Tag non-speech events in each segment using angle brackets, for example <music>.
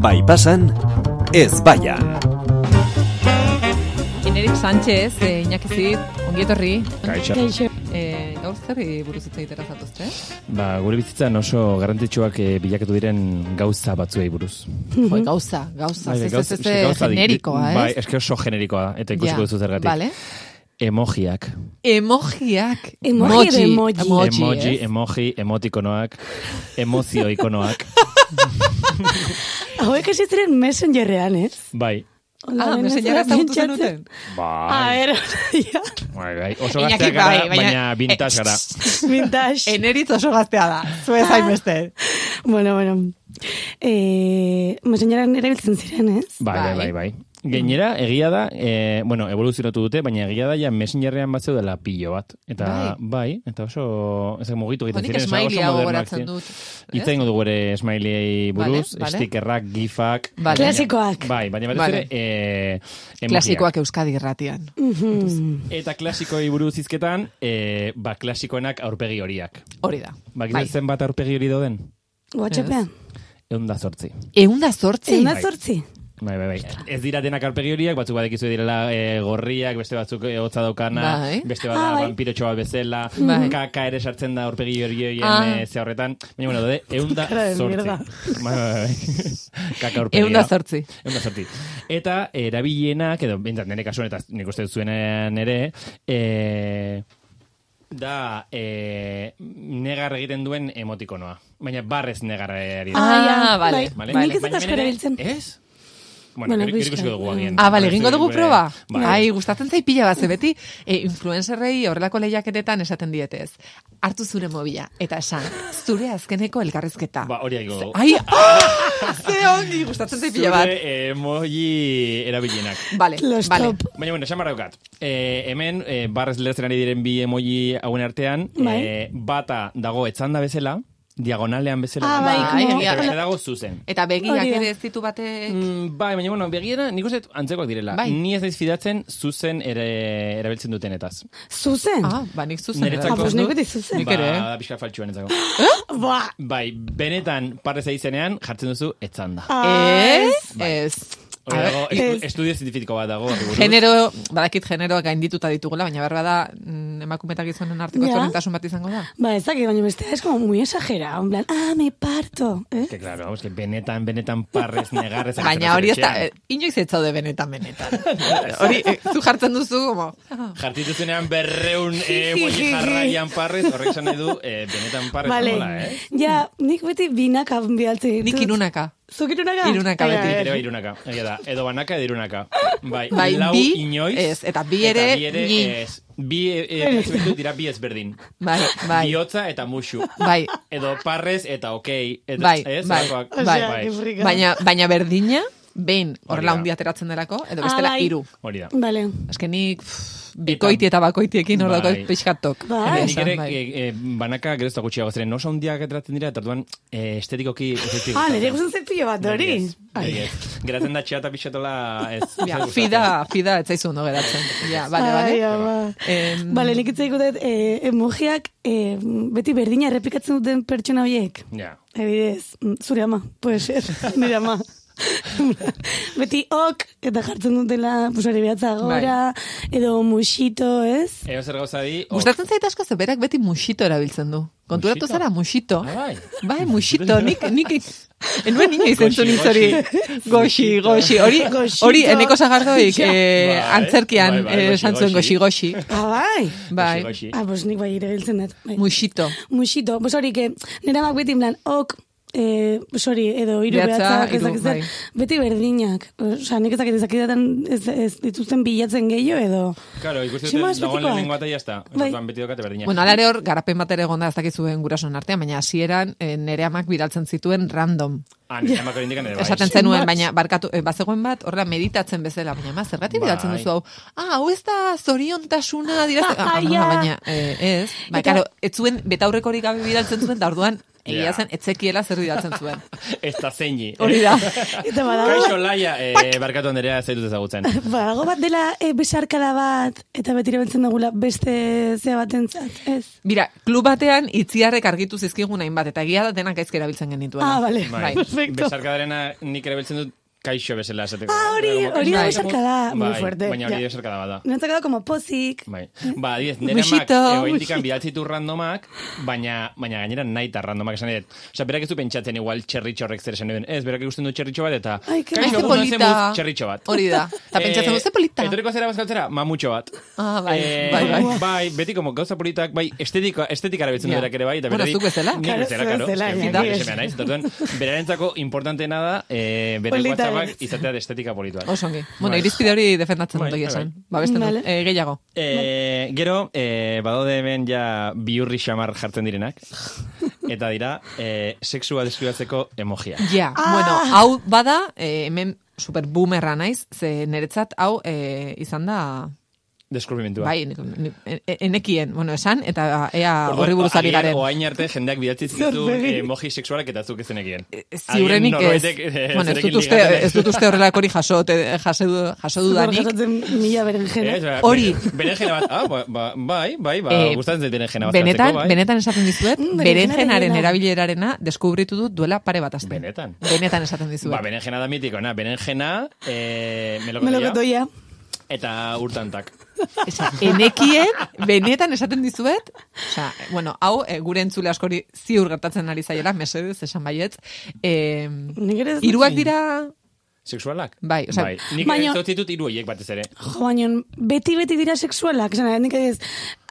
Bai pasan, ez baian. Generik Sánchez, e, Iñaki Zid, ongietorri. Kaixo. E, gaur zerri buruz hitz egitera eh? zatozte? Ba, gure bizitzan oso garrantzitsuak eh, bilakatu diren gauza batzuei buruz. Bai, gauza, gauza, ez ez ez eske gauza di- generikoa, ez? Bai, eske oso generikoa da, eta ikusiko Ja, duzu zergatik. Vale. Emojiak. Emojiak. Emoji edo emoji? Emoji, emoji, ez? emoji, emotikonoak, emozio <laughs> ikonoak. Hauek hasi ziren messengerrean, ez? Bai. Ah, messengerra ezagutu zenuten. A Bai, ber, <laughs> ja, bai, bai. Oso Iñaki, gazteak gara, bai, baina- baina vintage gara. vintage. Eneritz oso gaztea da, zuez hainbeste. bueno, bueno. Eh, messengerrean erabiltzen ziren, ez? Bai, bai, Bai. bai, bai. Gainera, egia da, e, bueno, evoluzionatu dute, baina egia da, ja, messengerrean bat zeudela pilo bat. Eta, bai, eta oso, ezak mugitu egiten Honik ziren, oso- esmailia oso modernoak gogoratzen ziren. dut. Eh? Hitz egingo dugu ere smiley buruz, Vale, vale. stickerrak, gifak. Vale. Klasikoak. Bai, baina batez Vale. ere, eh, emojiak. Klasikoak Euskadi irratian. Mhm. Eta klasikoi buruz hizketan, eh, ba, klasikoenak aurpegi horiak. Hori da. Ba, bai. zenbat aurpegi hori dauden? Whatsappean. Egun da zortzi. Eunda zortzi. Egun Bai. zortzi. Bai, bai, bai. Ez dira denak aurpegi horiak, batzuk badekizu direla eh, gorriak, beste batzuk eh, hotza daukana, Bai. beste bat da Ah, bai. vampirotxo bat bezala, Bai. kaka ere sartzen da aurpegi hori horien Ah. eh, ze horretan. Baina, bueno, daude, egun da Cara de zortzi. mierda. <laughs> Bai, bai, bai. kaka aurpegia. Eunda zortzi. Egun da sorti. Eta erabileenak, edo bintzat nire kasuan, eta nik uste dut zuenean ere, e, da e, negar egiten duen emotikonoa. Baina barrez negar ari da. Ah, ja, vale, Bale? vale. bai. Nik ez dut Baina asko hemen ere- erabiltzen. Eh? Ez? Bueno, Bueno, bueno pixka. ikusiko dugu agian. Ah, bale, egingo Beste dugu gure- proba. Bai. Ai, gustatzen zait pila bat, ze beti e, influencerrei horrelako lehiaketetan esaten dietez. Hartu zure mobila, eta esan, zure azkeneko elkarrezketa. Ba, hori egingo dugu. <laughs> Ai, ah, ze ongi, gustatzen zait pila bat. Zure emoji erabilenak. Vale, Los vale. top. Baina, bueno, esan barra daukat. E, hemen, e, barrez lertzen ari diren bi emoji hauen artean, Bai. e, bata dago etzanda bezala, diagonalean bezala. Ba, Ah, bai, Bai, como... egia Eta da. beste dago zuzen. Eta begiak Hori da. ere ez ditu batek... Mm, bai, baina, bueno, begiera, nik uste dut antzekoak direla. Bai. Ni ez naiz fidatzen zuzen ere erabiltzen dutenetaz. Zuzen. Ah, ba, nik zuzen. Niretzako- erabiltzen Ah, pues nik dut. beti zuzen. Nik ere. eh? Ba, pixka faltsuan etzako. Ba. Bai, benetan parrez izenean jartzen duzu etzanda. Ez, Ah. ez. A Ba. Bai. Hori ber, dago, estu, estudio zientifiko bat dago. horri buruz. Genero, badakit generoak gaindituta ditugula, baina berba da, mm, emakumetak gizonen arteko Ja. ezberdintasun bat izango da. Ba, ez dakit, baina beste es como muy exagerado. En plan, ah, me parto. Eh? Que claro, vamos, que benetan, benetan parrez negarrez. Baina hori ez da, etxean. eh, inoiz ez zaude benetan, <laughs> benetan. <laughs> hori, eh, zu jartzen duzu, como, Jartzen duzunean berreun emoji jarraian parrez, horrek esan nahi du, eh, benetan parrez Vale. nola, eh? Ja, nik beti binaka bialtzen ditut. nik inunaka. Zuk irunaka? Irunaka Ai, beti. ai, ai. Ere bai irunaka, egia da. Edo banaka edo irunaka. Bai, Bai, lau bi, inoiz. ez, eta bi ere, Eta bi ere, ni. ez. Bi, eh, eh, ez betu dira bi ezberdin. Bai, bai, Biotza eta musu. <laughs> bai. Edo parrez eta okei. Edo, Bai, ez, bai, Holakoak. Osea, bai. que frika. Baina, baina berdina, behin Hori horla da. hundi ateratzen delako, edo Ah, bestela bai. hiru. Hori da. Vale. Azkenik, pff, bikoiti eta bakoitiekin hor dago Bai. pixkatok. Bai. Eta Esan, nik ere, bai. eh, eh, banaka geroz eta gutxiago ziren, oso handiak atratzen dira, eta orduan eh, estetikoki... ez zaizkit Ah, gustatzen. nire guzen zepillo bat, hori. Niri ez, niri ez. Geratzen da txea eta pixatola <laughs> ez. ez Ja, <laughs> gustatzen. fida, fida, etzaizu ondo geratzen. Ja, bale, Ai, bale. ama. Em, Bale, nik itzaik dut eh, emojiak eh, beti berdina errepikatzen duten pertsona horiek. Ja. Ebidez, mm, zure ama, puede ser, <laughs> nire ama. beti ok, eta jartzen dutela, pues hori behatza gora, Bai. edo musito, ez? Ego zer gauza di... ok. Gustatzen zait asko ze berak beti musito erabiltzen du. Konturatu Muxito? zara musito. Ah, bai. Bai, musito, nik, nik, <laughs> enuen nina izentzun Goxi, hitz hori. Goxi, goxi, hori, Goxito. hori, eneko zagardoik, eh, Bai, antzerkian, bai, bai, eh, goxi, esan zuen goxi, goxi. goxi. Ah, bai. Bai, Goxi, goxi. Ah, pues nik bai erabiltzen dut. Bai. musito. Musito, pues hori, que nire amak beti en plan, ok, eh, pues hori, edo hiru Behatza, behatzak, ez hiru, dakit zer, bai. beti berdinak. Osa, nik ez dakit ez dakidatan ez, ez dituzten bilatzen gehiago, edo... Claro, ikusten Simo dut, espetikoak. dagoen lehenengo eta jazta. Bai. Bai. beti dokate berdina. Bueno, ala ere hor, garapen bat ere egonda ez dakizuen gurasoen artean, baina hasieran eh, nere amak bidaltzen zituen random. Ah, nire amako indikan ere bai. Esaten <laughs> zenuen, Zenbat? baina barkatu, eh, bazegoen bat, horrela meditatzen bezala, baina ma, zergatik Bai. bidaltzen duzu hau? Ah, hau ez da zoriontasuna dira, Ah, ah, ja. baina, eh, ez. Ba, <laughs> Eta- karo, ez zuen, betaurrekorik gabe bidaltzen zuen, da orduan, Egia Ja. zen, etzekiela zer didatzen <laughs> zuen. Ez da zeini. Hori da. <laughs> Eta Kaixo badago, laia, eh, barkatu anderea zaitut <laughs> ezagutzen. badago bat dela e, besarkada bat, eta beti bentzen dugula beste zea batentzat, ez? <laughs> Bira, klub batean itziarrek argitu zizkigun hainbat, eta egia da denak gaizki erabiltzen genituen. Ah, bale, Bai. perfecto. Besarkadarena nik ere beltzen dut kaixo bezala esateko. Ah, hori, hori da Bai. besarkada, muy Bai, fuerte. Baina hori ja. besarkada bada. Nintzak da, como pozik. Bai. Ba, adibidez, nire mak, Muxito, egointikan bidaltzitu randomak, baina, baina gainera nahi ta randomak esan edet. Osa, berak ez du pentsatzen igual txerritxo horrek zer esan eben. Ez, berak ikusten du txerritxo bat eta... Ai, ke- "Kaixo, Ai, ze egun on, polita." zenbuz, Txerritxo bat. Hori da. Eta <laughs> Eh, pentsatzen du, "Ze polita." Etorriko zera bazkaltzera, mamutxo bat. Ah, bai, Eh, bai, bai. beti como gauza politak, bai, estetiko, estetikara betzen du Ja. berak ere bai. Eta Bueno, berari- zuk bezala. Nik Claro, bezala, zu karo. bezala, Eske, ja, da, ni ez. esemea naiz. Eta orduan, berarentzako importanteena da, eh, bere Polita WhatsAppak beretzea. izatea de estetika politua. Osongi. Bueno, Bai. irizpide hori defendatzen dut Bai, egia bai, esan. Ba, beste Vale. eh, gehiago. Bai. E, gero, e, badaude hemen ja biurri xamar <laughs> jartzen direnak. Eta dira, e, sexua deskribatzeko emojiak. Ja, Ah! bueno, hau bada, eh, hemen super boomerra naiz, ze niretzat hau eh, izan da, Deskurbimentua. bai, ni- ni- e- enekien, bueno, esan, eta ea horri buruz ari agian garen. Oain arte jendeak bidatzi zitu Zorbegi. emoji sexualak eta zuk ezenekin. Ziurenik Eh, ez, eh, bueno, ez dut uste, ez dut uste horrelakorik jaso, te- jaso, du- jaso dudanik, Jasotzen mila eh? berenjena. Hori. Eh, Berenjena bat, ah, ba, ba, bai, bai, ba, Eh, gustatzen zait berenjena bat. Benetan, bai. benetan esaten dizuet, Mm, berenjenaren berenjenarena. erabilerarena deskubritu dut duela pare bat aste. Benetan. Benetan esaten dizuet. Ba, berenjena da mitikona, berenjena, eh, melokotoia, Melokotoia. eta urtantak. Esa, enekien, benetan esaten dizuet, osa, bueno, hau, eh, gure entzule askori ziur gertatzen ari zaiela, mesedez, esan baietz, eh, Nik ere ez- iruak dira, Sexualak? Bai, osea- bai. Nik Baina- Baina... ditut hiru horiek batez ere. Jo, baina beti beti dira sexualak, esan nik ez.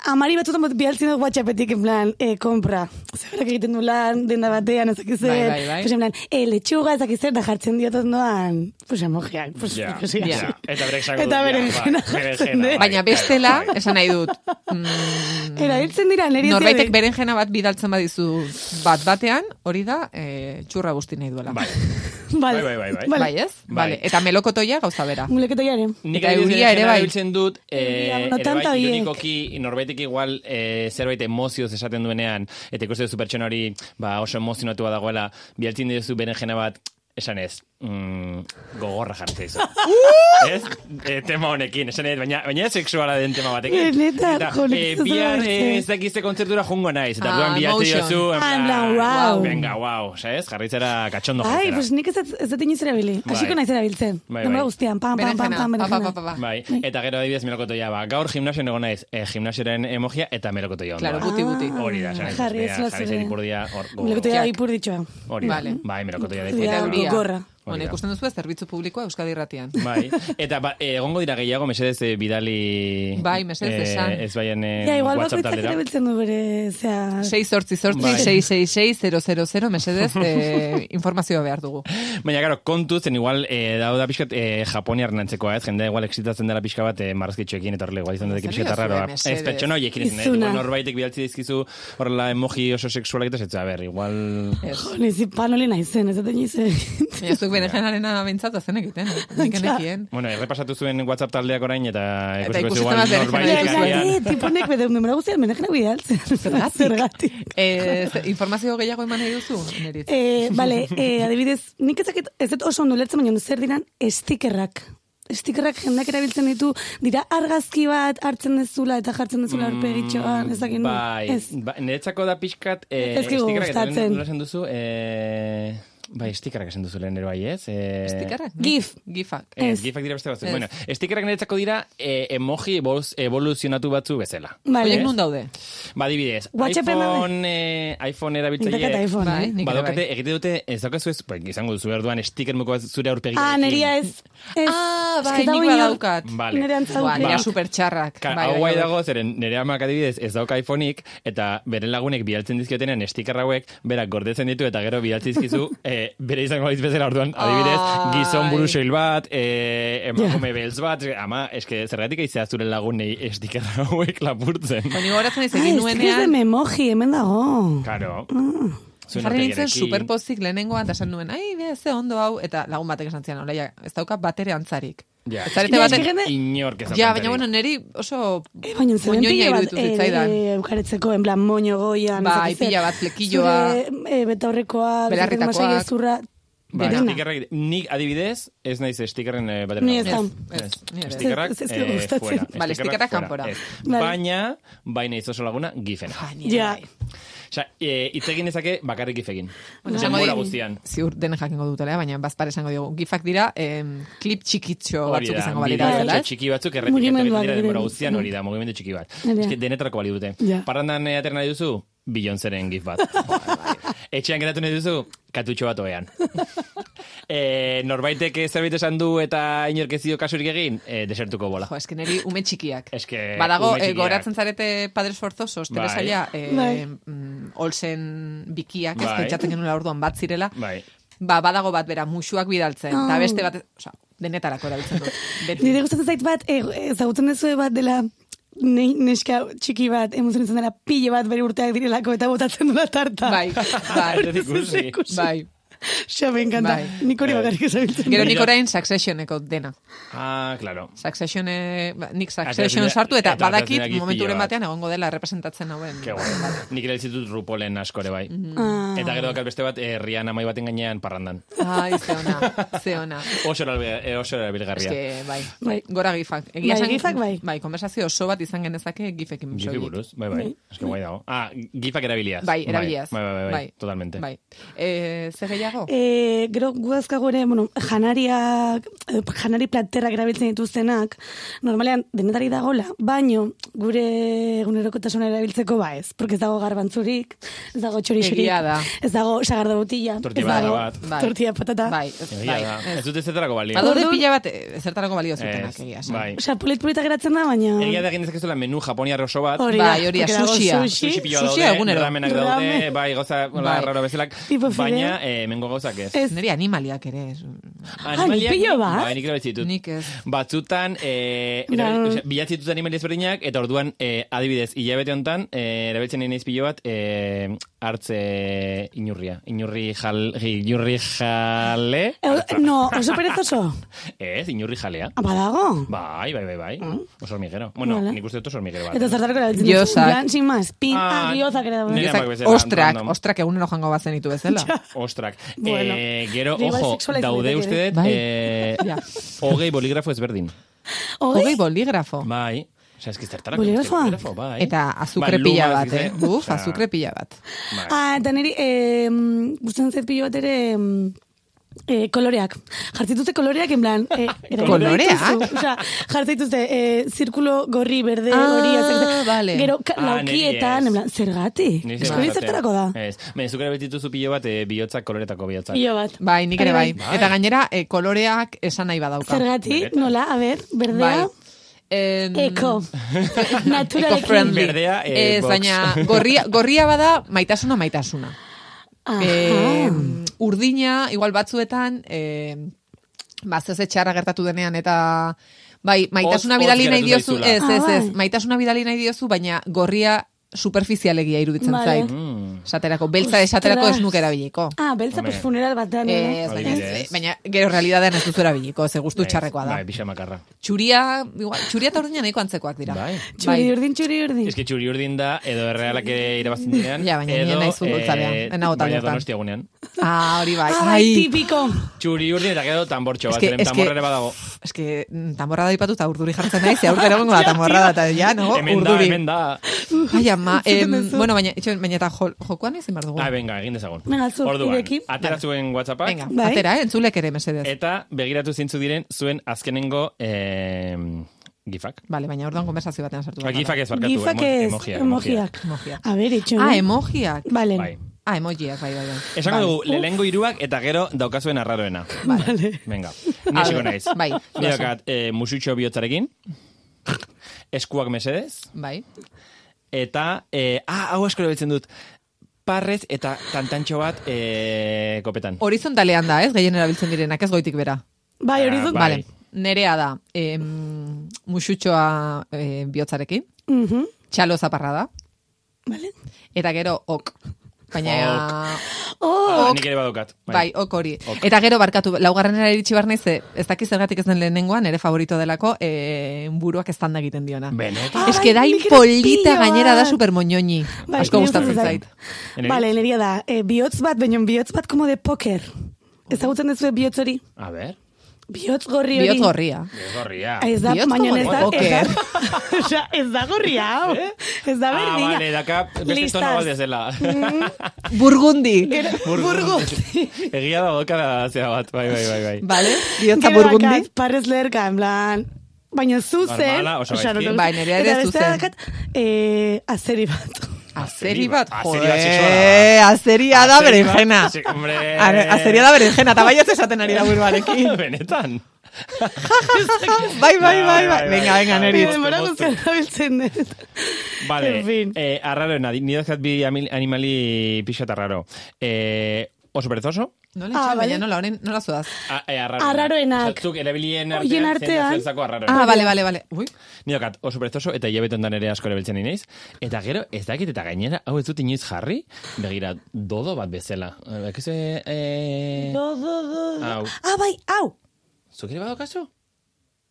Amari batzutan bat bialtzen dut WhatsAppetik en plan, eh, kompra. Zeberak egiten du lan, denda batean, ez dakiz zer. Bai, bai, bai. Pues en plan, eh, lechuga, ez dakiz zer, da jartzen diotan doan, pues emojiak, pues Ja, ikusi. ja. Eta berek esango Eta dut, ja, berenjena ba, berenjena, jartzen dut. bai. baina bestela, Bai. esan nahi <laughs> dut, mm, Erabiltzen dira, niri ez norbaitek dira- berenjena bat bidaltzen badizu bat batean, hori da, eh, txurra busti nahi duela. Bai. Vale. Bai, bai, bai, bai. Vale. Ba, Bai, ez? Bai. Vale. Eta melokotoia gauza bera. Muleketa jaren. Nik Eta adibidez euria berenjena ere bai. erabiltzen dut, Euria, eh, no ere tanta bai, horiek. irudikoki, norbaitek igual eh, zerbait emozioz esaten duenean, eta ikusten duzu pertsona hori ba, oso emozionatua dagoela, bialtzen duzu berenjena bat, esan ez, mm, gogorra jartzen dizu. <laughs> Uh! ez? Eh, tema honekin, esan ez, baina, baina ez sexuala den tema batekin. Benetan, jo, nik eh, ez dut bihar ulertzen. eh, ez dakizte kontzertura jungo naiz, eta Ah, duan bilatzen emotion. duzu, en Ah, en plan, plan, wow. Venga, wow, ¿sabes? Jarritzera katxondo Ai, jartzera. pues nik ez ez ez dut inoiz erabili. Bai. Hasiko naiz erabiltzen. Bai, Denbora bai. guztian, pam, pam, pam, Berenjena, ba, pam, pa, pa, pa, ba, berenjena. pa, pa. Bai, eta gero adibidez melokotoia, ba, gaur gimnasio nego naiz, eh, gimnasioaren emogia eta melokotoia ondoa. Claro, guti, guti. Ah. Hori da, esan ez, Jarri, bea, ez la jarri zure. zen ipurdia hor, go- Muleketa Jack. ipur ditxoa. Hori da, Vale. bai, melokotoia da Eta Ja, euria. gogorra. Bueno, ikusten duzu ez, zerbitzu publikoa Euskadi irratian. Bai, eta ba, eh, egongo dira gehiago, mesedez eh, bidali... Bai, mesedez, eh, esan. Ez baian eh, Ja, igual WhatsApp bakoitzak taldera. erabiltzen du bere, zea... 6 sortzi sortzi, Bai. 666-000, <laughs> mesedez, eh, informazioa behar dugu. Baina, claro, kontu zen igual, eh, dau da pixkat eh, Japoniar nantzekoa, ez? Jendea igual exitatzen dela pixka bat eh, marrazkitxoekin, eta horrela igual izan dut Zer pixkat diozue, arraroa. mesedez? Ez pertsona horiekin ez, Izuna. igual norbaitek bidaltzi dizkizu horrela emoji oso sexualak eta ez, a ber, igual... Ez. Jo, nizi panoli naizen, ez dut inoiz erabili. Baina zuk bere jenarena bintzat zen <laughs> egiten, nik enekien. Bueno, errepasatu zuen WhatsApp taldeak orain eta Eta ikusi ikusiko zu igual zenbat norbait berenjenak Baina, kalean. eh, tiponek bede numero guztian menejena bidaltzen. Zergatik. Zergatik. Eh, ze- informazio gehiago eman nahi duzu, nerit? Eh, vale, eh, adibidez, nik ezakit, ez dut oso ondo ulertzen, baina zer diran estikerrak. Estikerrak jendak erabiltzen ditu, dira argazki bat hartzen dezula eta jartzen dezula aurpegitxoan, ez dakit. Mm, Bai, Ez. ba, niretzako da pixkat... Eh, Ez zaigu stickerrak eta gustatzen. Nola esan duzu? Eh, bai, stickerrak esan duzu lehen ere bai, ez? Eh, Estikarrak? Gif. Gifak. Eh, Ez. gifak dira beste batzuk. Ez. Bueno, stickerrak niretzako dira eh, emoji evoluz- evoluzionatu batzu bezala. Vale. Oiek nun daude? Ba, dibidez, WhatsApp iPhone, eh, iPhone Indak eta erabiltzaile... iPhone, Bai, eh? nik ere Badokate, bai. egite dute, ez daukazu ez, bai, izango duzu erduan, sticker muko bat zure aurpegiarekin. Ah, neria ez. ez. Ah, Ez bai, que dago nik inor- badaukat. Vale. Nire antza Ba, dute. nire Ba. supertxarrak. Ka, Bai, hau bai, guai bai. dago, zeren nire amak adibidez ez dauka iPhoneik, eta bere lagunek bidaltzen dizkiotenean estiker hauek, berak gordetzen ditu eta gero bidaltzen dizkizu, <laughs> eh, bere izango balitz bezala orduan, adibidez, Ai. gizon burusoil bat, eh, <laughs> emakume beltz bat, ama, eske zergatik aizea zure lagunei estiker hauek lapurtzen. Ba, ni gogoratzen naiz Ah, egin ez que ez nuenean, de memoji, hemen dago. Karo. Zuen jarri nintzen aurpegiarekin. superpozik lehenengoan, eta esan nuen, ai, be, ze ondo hau, eta lagun batek esan zian, oleia, ez dauka bat ere antzarik. Ja. Ez zarete Ja, baten... eske jende- Inork ez Ja, baina bueno, neri oso E, baina zemen moñoña pila bat, iruditu eh, zitzaidan. eh, eukaretzeko, en plan, moño goian. Bai, ez dakit zer. pila bat, flequilloa. Zure, eh, betaurrekoa, Belarritakoak. Bai. belarritakoak. Gezurra, Ba, dena. stickerrak- nik adibidez, ez naiz stickerren eh, batera. Ni ez dago. da. Ez, ni ere ez. Stickerrak, Ez- ez zaigu eh, gustatzen. fuera. Vale, stickerrak fuera. kanpora. Ez. Vale. Baina, baina itzoso laguna, gifena. Baina, bai. Ja, Osea, eh, hitz egin dezake bakarrik gifekin. Bueno, esango bai. Denbora di- guztian. Ziur denen jakingo dutela, baina bazpare esango diogu. Gifak dira, em, klip txikitxo batzuk izango balira. bideo bezala, ez? txiki batzuk Mugimendu errepikatuak bat, dira denbora mugimendu. guztian hori Mm. da, mugimendu txiki bat. Hori da. Eske denetarako bali dute. Ja. Parrandan eh, atera nahi duzu, Beyoncéren gif <laughs> bat. Bai. Etxean geratu nahi duzu, katutxo bat <laughs> oean. e, norbaitek zerbait esan du eta inorkezio kasurik egin, e, desertuko bola. Jo, eske neri ume txikiak. <laughs> Eske Badago, ume eh, txikiak. goratzen zarete Padres Forzosos, Bai. telesaila, eh, Bai. mm, Olsen bikiak, ez Bai. pentsatzen genuela orduan bat zirela. Bai. Ba, badago bat bera, musuak bidaltzen, Oh. eta beste bat, osea, denetarako erabiltzen <laughs> dut. Beti. Nire gustatzen zait bat, eh, ezagutzen duzu bat dela ne, neska txiki bat, emozioen izan dela pile bat bere urteak direlako eta botatzen dula tarta. Bai, <laughs> Ez bai, dut ikusi. <laughs> bai. Xa, me encanta. Bai. Nik hori bakarrik ezagutzen. Gero dut. nik orain Successioneko dena. Ah, claro. Succession, eh, ba, nik Ateratzen Succession da- sartu eta eta ateratzen da badakit gizpilo momenturen bat. batean egongo dela representatzen hauen. Ke <laughs> guai. Nik ere ditut Rupolen askore bai. Mm-hmm. Ah. Eta gero dakar beste bat, eh, Rihanna mai baten gainean parrandan. Ai, ze ona, ze ona. Oso erabil- eh, oso erabilgarria. Eske, bai. Bai. Gora gifak. Bai, gifak bai. Bai, konversazio oso bat izan genezake gifekin. Gifi soilik. buruz, bai, bai. Eske guai dago. Ah, gifak erabiliaz. Bai, erabiliaz. Bai, bai, bai, bai, totalmente. Bai. Eh, ze gehiago? E, gero guazkago ere, bueno, janariak, eh, janari platerrak erabiltzen dituztenak, normalean denetari dagola, baino gure egunerokotasuna erabiltzeko ba ez, porque ez dago garbantzurik, ez dago txorixerik, Egia da. ez dago sagardo botilla, Tortilla ez dago bat. Bai. tortilla patata. Bai, Egia bai. da. Ez Ez. dut ez zetarako balio. Badaude Orduan- pila bat, eh, zertarako balio zutenak, Ez, egia esan. bai. Osea, polit-polita geratzen da, baina... Egia da egin dezakezuela menu japoniar oso bat. Hori Bai, hori da, porque dago sushia. Sushi pilo Sushia daude, egunero. ramenak daude, Ramen. bai, goza, hola, Bai. raro bezalak. Tipo fideo. Baina, eh, mengo gauzak ez. Ez, Neri animaliak ere. ez. Animaliak- pilo bat? Bai, nik erabiltzen ditut. Nik ez. Batzutan, e, Ba- erabil, bilatzen ditut animalia ezberdinak, eta orduan, e, adibidez, hilabete honetan, e, erabiltzen nahi naiz pilo bat, e, hartze inurria. Inurri, jal, inurri jale? eh, no, oso perezoso. Ez, inurri jalea. Ah, Badago. Bai, bai, bai, bai. Oso hormigero. Bueno, Mm. Vale. nik uste dut oso hormigero bat. Eta zertarako erabiltzen Giozak. Plan, sin más. Pin, ah, Bai. Ah, giozak ere daude. nire Ezak, bezala, Ostrak, random. ostrak egunero jango bazen ditu bezala. Ostrak. Bueno. bai Eh, gero, Igual ojo, sexuala izan daude daiteke, uste dut, Bai. eh, Ja. hogei boligrafo ezberdin. Hogei boligrafo. Bai. Osa, eski zertarako. Boligrafoa? boligrafo, Bai. Eta Ba, azukre luma, pila bat, ez eh? dakit, Buf, osea, azukre pila bat. bai. Ah, eta niri, eh, gustatzen zait pilo bat ere, em, eh, koloreak. Jartzituzte koloreak, en plan, <laughs> eh, erabili Koloreak? dituzu. Osea, jartzituzte, eh, zirkulo gorri, berde, Ah, hori, azak, vale. gero, ka, Ah, laukietan, niri ez. en plan, zergatik. Ni Eske zergatik. hori Eh, zertarako da. Ez. Baina, zuk erabiltzen zu pilo bat eh, bihotzak koloretako bihotzak. Pilo bat. Bai, nik ere bai. Hori Eta gainera, eh, koloreak esan nahi badauka. Zergatik, Benetan. nola, a ber, berdea, Bai. Em, <laughs> <laughs> eko, naturalekin. Bai. Eco-friendly. Berdea, eh, Ez, box. <laughs> baina gorria, gorria bada maitasuna maitasuna. Aha. Eh, urdina, igual batzuetan, eh, ba, zeze txarra gertatu denean eta... Bai, maitasuna Hotz- bidali hotz nahi geratu diozu, ez, zaizula. ez, Ah, ez, bai. maitasuna bidali nahi diozu, baina gorria superfizialegia iruditzen Vale. zait. Mm. Esaterako, beltza esaterako ez Ostras. nuke erabiliko. Ah, beltza, pues Hombre. funeral batean. Ez, eh. baina, Adibidez. baina gero realidadean ez duzu erabiliko, ze gustu Ez. txarrekoa da. Bai, pixa makarra. Txuria, igual, txuria eta urdina nahiko antzekoak dira. Bai. Txuri urdin, txuri urdin. Ez que txuri urdin da, edo errealak ere irabazten direan. <laughs> Ja, baina ni edo, naiz futbolzalea. eh, Ez nago taldetan. Baina donostia gunean. Ah, hori bai. Ah, bai, Ai, tipiko. Txuri urdin eta gero tambortxo bat, Eske- zeren eske- Ba, tamborra ere badago. eske mm, tamborra da ipatu eta urduri jartzen naiz, ze aurkera gongo da tamborra da, eta ja, no, Oh, Hemen da, urduri. Mm. hemen da. Ai, ama, em, Entzuten duzu. bueno, baina, itxo, baina eta jo, jokoan ezin behar dugu. Ah, venga, egin dezagun. Venga, zu, Orduan, ireki. atera zuen WhatsAppak. Venga, Bai. atera, eh, entzulek ere, mesedez. Eta begiratu zintzu diren zuen azkenengo eh, gifak. Vale, baina orduan konversazio batean sartu. Ba, behar gifak gara. ez barkatu, Gifak emo- ez, emojiak. emojiak. Emojiak. A ber, itxo. Ah, eh? emojiak. Vale. Bai. Ah, emojiak, bai, bai, bai. Esango Vale. dugu, lehengo hiruak eta gero daukazuen arraroena. Vale. Venga, A nesiko ver, naiz. bai, Ni daukat, eh, musutxo bihotzarekin, eskuak mesedez, Bai. eta, eh, ah, hau asko erabiltzen dut, parrez eta tantantxo bat eh, kopetan. Horizontalean da, ez? Gehien erabiltzen direnak, ez goitik bera. Bai, hori Ah, dut. bai. Vale. Nerea da, em, musutxoa eh, bihotzarekin, Mhm. txalo zaparra da, Vale. eta gero ok. Baina... Oh, ok. Ah, nik ere badokat. Bai, ok hori. Eta gero barkatu, laugarrenera iritsi bar naiz, eh, ez dakit zergatik ez den lehenengoan, ere favorito delako, eh, buruak estanda egiten diona. Benetan. Ez Ai, que da nik ere polita pilo gainera da bat. supermoñoñi. eh. Bai, Asko niri gustatzen gustatzen zait. Eneri? Bale, neria da, e, bihotz bat, baino bihotz bat como de poker. Ezagutzen duzu bihotz hori? A ber. Bihotz gorri hori. Bihotz gorria. Ez gorria. Ah, Ez da, Bihotz baina como ez de da, ez <laughs> poker. da, Osea, ez da gorria, hau. Ez da Ah, berdina. bale, daka beste tono Listas. Mm. bat dezela. Burgundi. Burgundi. <laughs> Egia da boka da zera bat, bai, bai, bai, bai. Vale, bihotza Gero burgundi. dakat Parrez lerka, en plan... Baina zuzen... Normala, <laughs> oso osea, gaizki. no- Bai, nerea ere eta bestea zuzen. dakat, eh, azeri bat. Azeri bat, Azeri bat sexuala joe, azeria da Azeri bat, berenjena. sí, hombre. Are- Azeria da berenjena, eta baiatz esaten ari da <laughs> buruarekin. Benetan. Bai, bai, bai, bai. Bai, bai, Venga, bai. venga, Nire neri. Motztu, denbora motztu. guztian abiltzen dut. Vale, En fin. eh, arraroena, di- nire dazkat bi amil- animali pixat arraro. Eh, oso perezoso? Nola Ah, itxaron, vale. baina nola, orain- nola zuaz? A, eh, arraroena. Arraroenak. Osa, zuk erabilien Horien artean, artean. artean. arraroena. Ah, bale, bale, bale. Ui, Ni daukat oso perezoso eta hilabetan dan ere asko erabiltzen inaiz. Eta gero, ez dakit eta gainera, hau ez dut inoiz jarri, begira, dodo bat bezala. Eh, Bakizu, eh, Do, do, do. Au. Ah, bai, hau. zuk ere badokazu?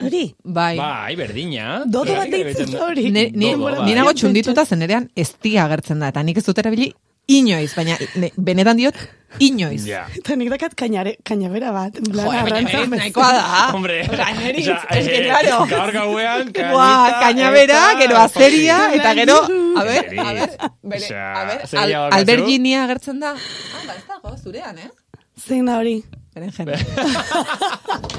Hori. bai. Bai, berdina. Dodo bat Zergatik deitzen erabiltzen da? hori. Ne- ni, Dodo, bai. ni nago txundituta zenerean eztia agertzen da, eta nik ez dut erabili inoiz, baina ne- benetan diot inoiz. Ja. Eta nik dakat kainare, kainabera bat. En plan, Jo, baina arrantza neriz bezala. nahikoa da. Hombre, Osea, <laughs> neriz, osea, es que eh, claro. Gaur gauean, kanita, Ua, kañabera, eta- gero <laughs> azeria, eta gero, a ber, Neriz. a ber, bere, Osea, a ber, azeria al- daukazu? alberginia agertzen da. Ah, ba, ez dago, zurean, eh? Zein da hori? Beren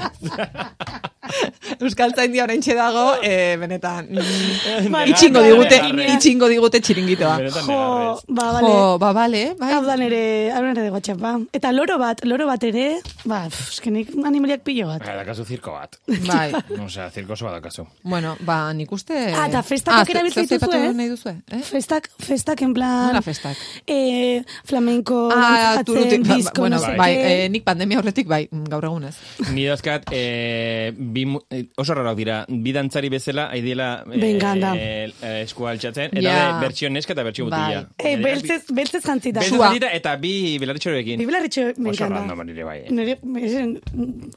<laughs> Euskal Zaindia orain dago, eh, benetan, mm, Bai, itxingo bai, digute, bai, bai. itxingo digute txiringitoa. Benetan Jo, negarrez. ba, bale. Jo, ba, bale, Hau da bai. nere, hau da nere WhatsApp, ba. Eta loro bat, loro bat ere, ba, pff, eskenik animaliak pilo bat. Ah, Dakazu zirko bat. Bai. Osea, zirko oso badakazu. Bueno, ba, nik uste... Ah, eta festak ze- erabiltzen zer- zer dituzue, aipatu eh? nahi duzue, eh? Festak, festak en plan... Nola festak? Eh, flamenko, Ah, dantzatzen, turutik, ba, ba, disko, bueno, no sé bai, qué. eh, nik pandemia horretik, bai, mm, gaur egunez. Ni dauzkat, eh, bi, mu- eh, oso rarak dira, bi dantzari bezala, ahi dira Venga, anda. eh, eh, eskua altxatzen, eta Ja. yeah. bertxio neska eta bertxio butila. Eh, beltzez, beltzez jantzita. Beltzez Bai. Sua. aldita eta bi bilaritxorekin. Bi belarritxo, me Oso encanta. random nire bai. Nire, esen,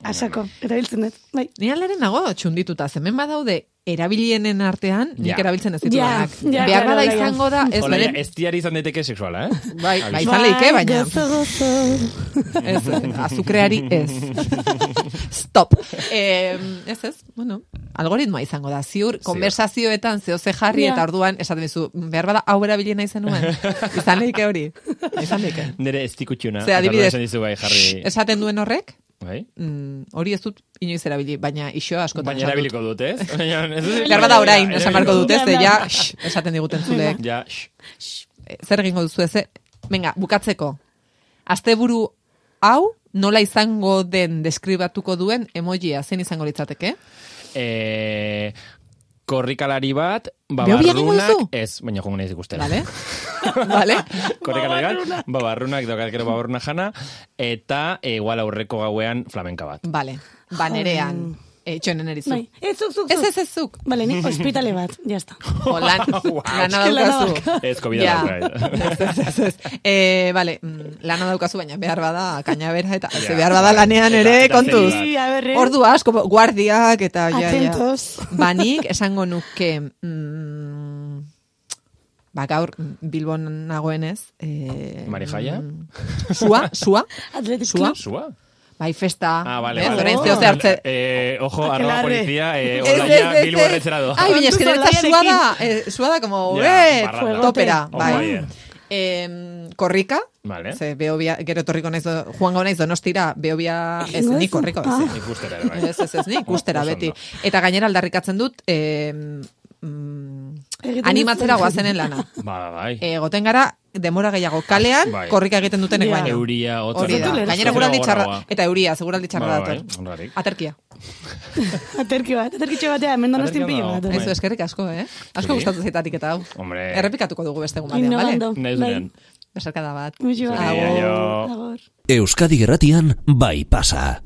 asako, erabiltzen dut. Bai. Ni alaren nago txundituta, zemen badaude erabilienen artean, nik Ja. erabiltzen ez Ja, ditudanak. ja, Behar claro, bada ja. izango da, ez Hola, ja, bere... ez diari izan daiteke sexuala, eh? Bai, bai, izan leike, baina Gozo, gozo. ez, azukreari ez. <laughs> Stop. Eh, ez ez, bueno, algoritmoa izango da, ziur, konversazioetan zehoze jarri Ja. eta orduan, esaten dizu, behar bada hau erabilien nahi zenuen. <laughs> Izan leike hori. Izan leike. Nire ez dikutxuna. Ze, Eta adibidez, orduan esan dizu bai, shh, jarri... esaten duen horrek, Bai? mm, hori ez dut inoiz erabili, baina iso askotan Baina esan dut. erabiliko dut, ez? <laughs> Baina ez dut- Behar bada orain, Ja, esan barko dute, ze Erabiliko. ja, shh, esaten diguten <laughs> zuleek. Ja, shh. Eh, Zer egingo duzu ez? eh? Venga, bukatzeko. Asteburu hau nola izango den deskribatuko duen emojia zein izango litzateke? Eh, korrikalari bat, Behobia egingo duzu? babarrunak... Ez, baina jongo naiz ikustera. <laughs> Vale? vale? Korrikalari bat, babarrunak, dokat gero babarruna jana, eta eh, igual aurreko gauean flamenka bat. Vale. Banerean. Eh, txonen erizu. Bai. Ez, zuk, zuk, Ez, zuk. ez, ez zuk. Vale, ni ospitale bat, ya está. Olan, Wow. lana Eske lana daukazu. <laughs> Ez, COVID-a bai. Ja. daukat. <laughs> Ez, ez, ez. Eh, vale, mm, lana daukazu, baina behar bada kainabera eta Ja. ze behar bada lanean Eta- ere eta kontuz. zeri Sí, a ver, eh. Ordu asko, guardiak eta ja, ja. Atentos. Banik, esango nuke, mm, ba gaur, mm, Bilbon nagoenez. E, Marijaia? Sua, sua. Athletic Sua? Club. Sua? Bai, festa. Ah, vale, ez, vale. Orain Oh. zeo ze hartze. Eh, ojo, arroba Aquelarre. polizia, eh, Ez, ez, olaia, ez, bilbo ez. erretzera doa. Ai, baina eskero Kontuz eta sua da, olaiarekin. eh, sua da, como, Ja, eh, barranda. topera. Oh, Bai. bai. Em, korrika, Vale. ze beobia, gero torriko naiz, do- joango naiz donostira, beobia, ez, Egingo ni duzu? korrika, ez, Ah. Ikustera ere, bai. Ez, ez, ez, ni ikustera Oso beti. ondo. Eta gainera aldarrikatzen dut, eh, mm, Egiten animatzera eh. duzu. guazenen lana. Eh, Ba, ba, bai. Egoten gara, demora gehiago kalean, Bai. korrika egiten dutenek Ja. baino. Euria, otzora. Hori da. Otzolera. Gainera guraldi txarra, Gogorragoa. eta euria, seguraldi txarra Ba, ba, dator. bai, ondarik. Aterkia. Aterki bat, aterkitxo batea, hemen donostin Aterki pilo bat bai. bat. dago. Aizu, eskerrik asko, eh? Asko Zuri. gustatu zaitatik eta hau. Hombre. Errepikatuko dugu beste gumatean, Innovando. bale? Nahi Bai. dunean. Besarkada bat. Muxu bat. Zuri, aio. Agor. Euskadi Gerratian bai pasa.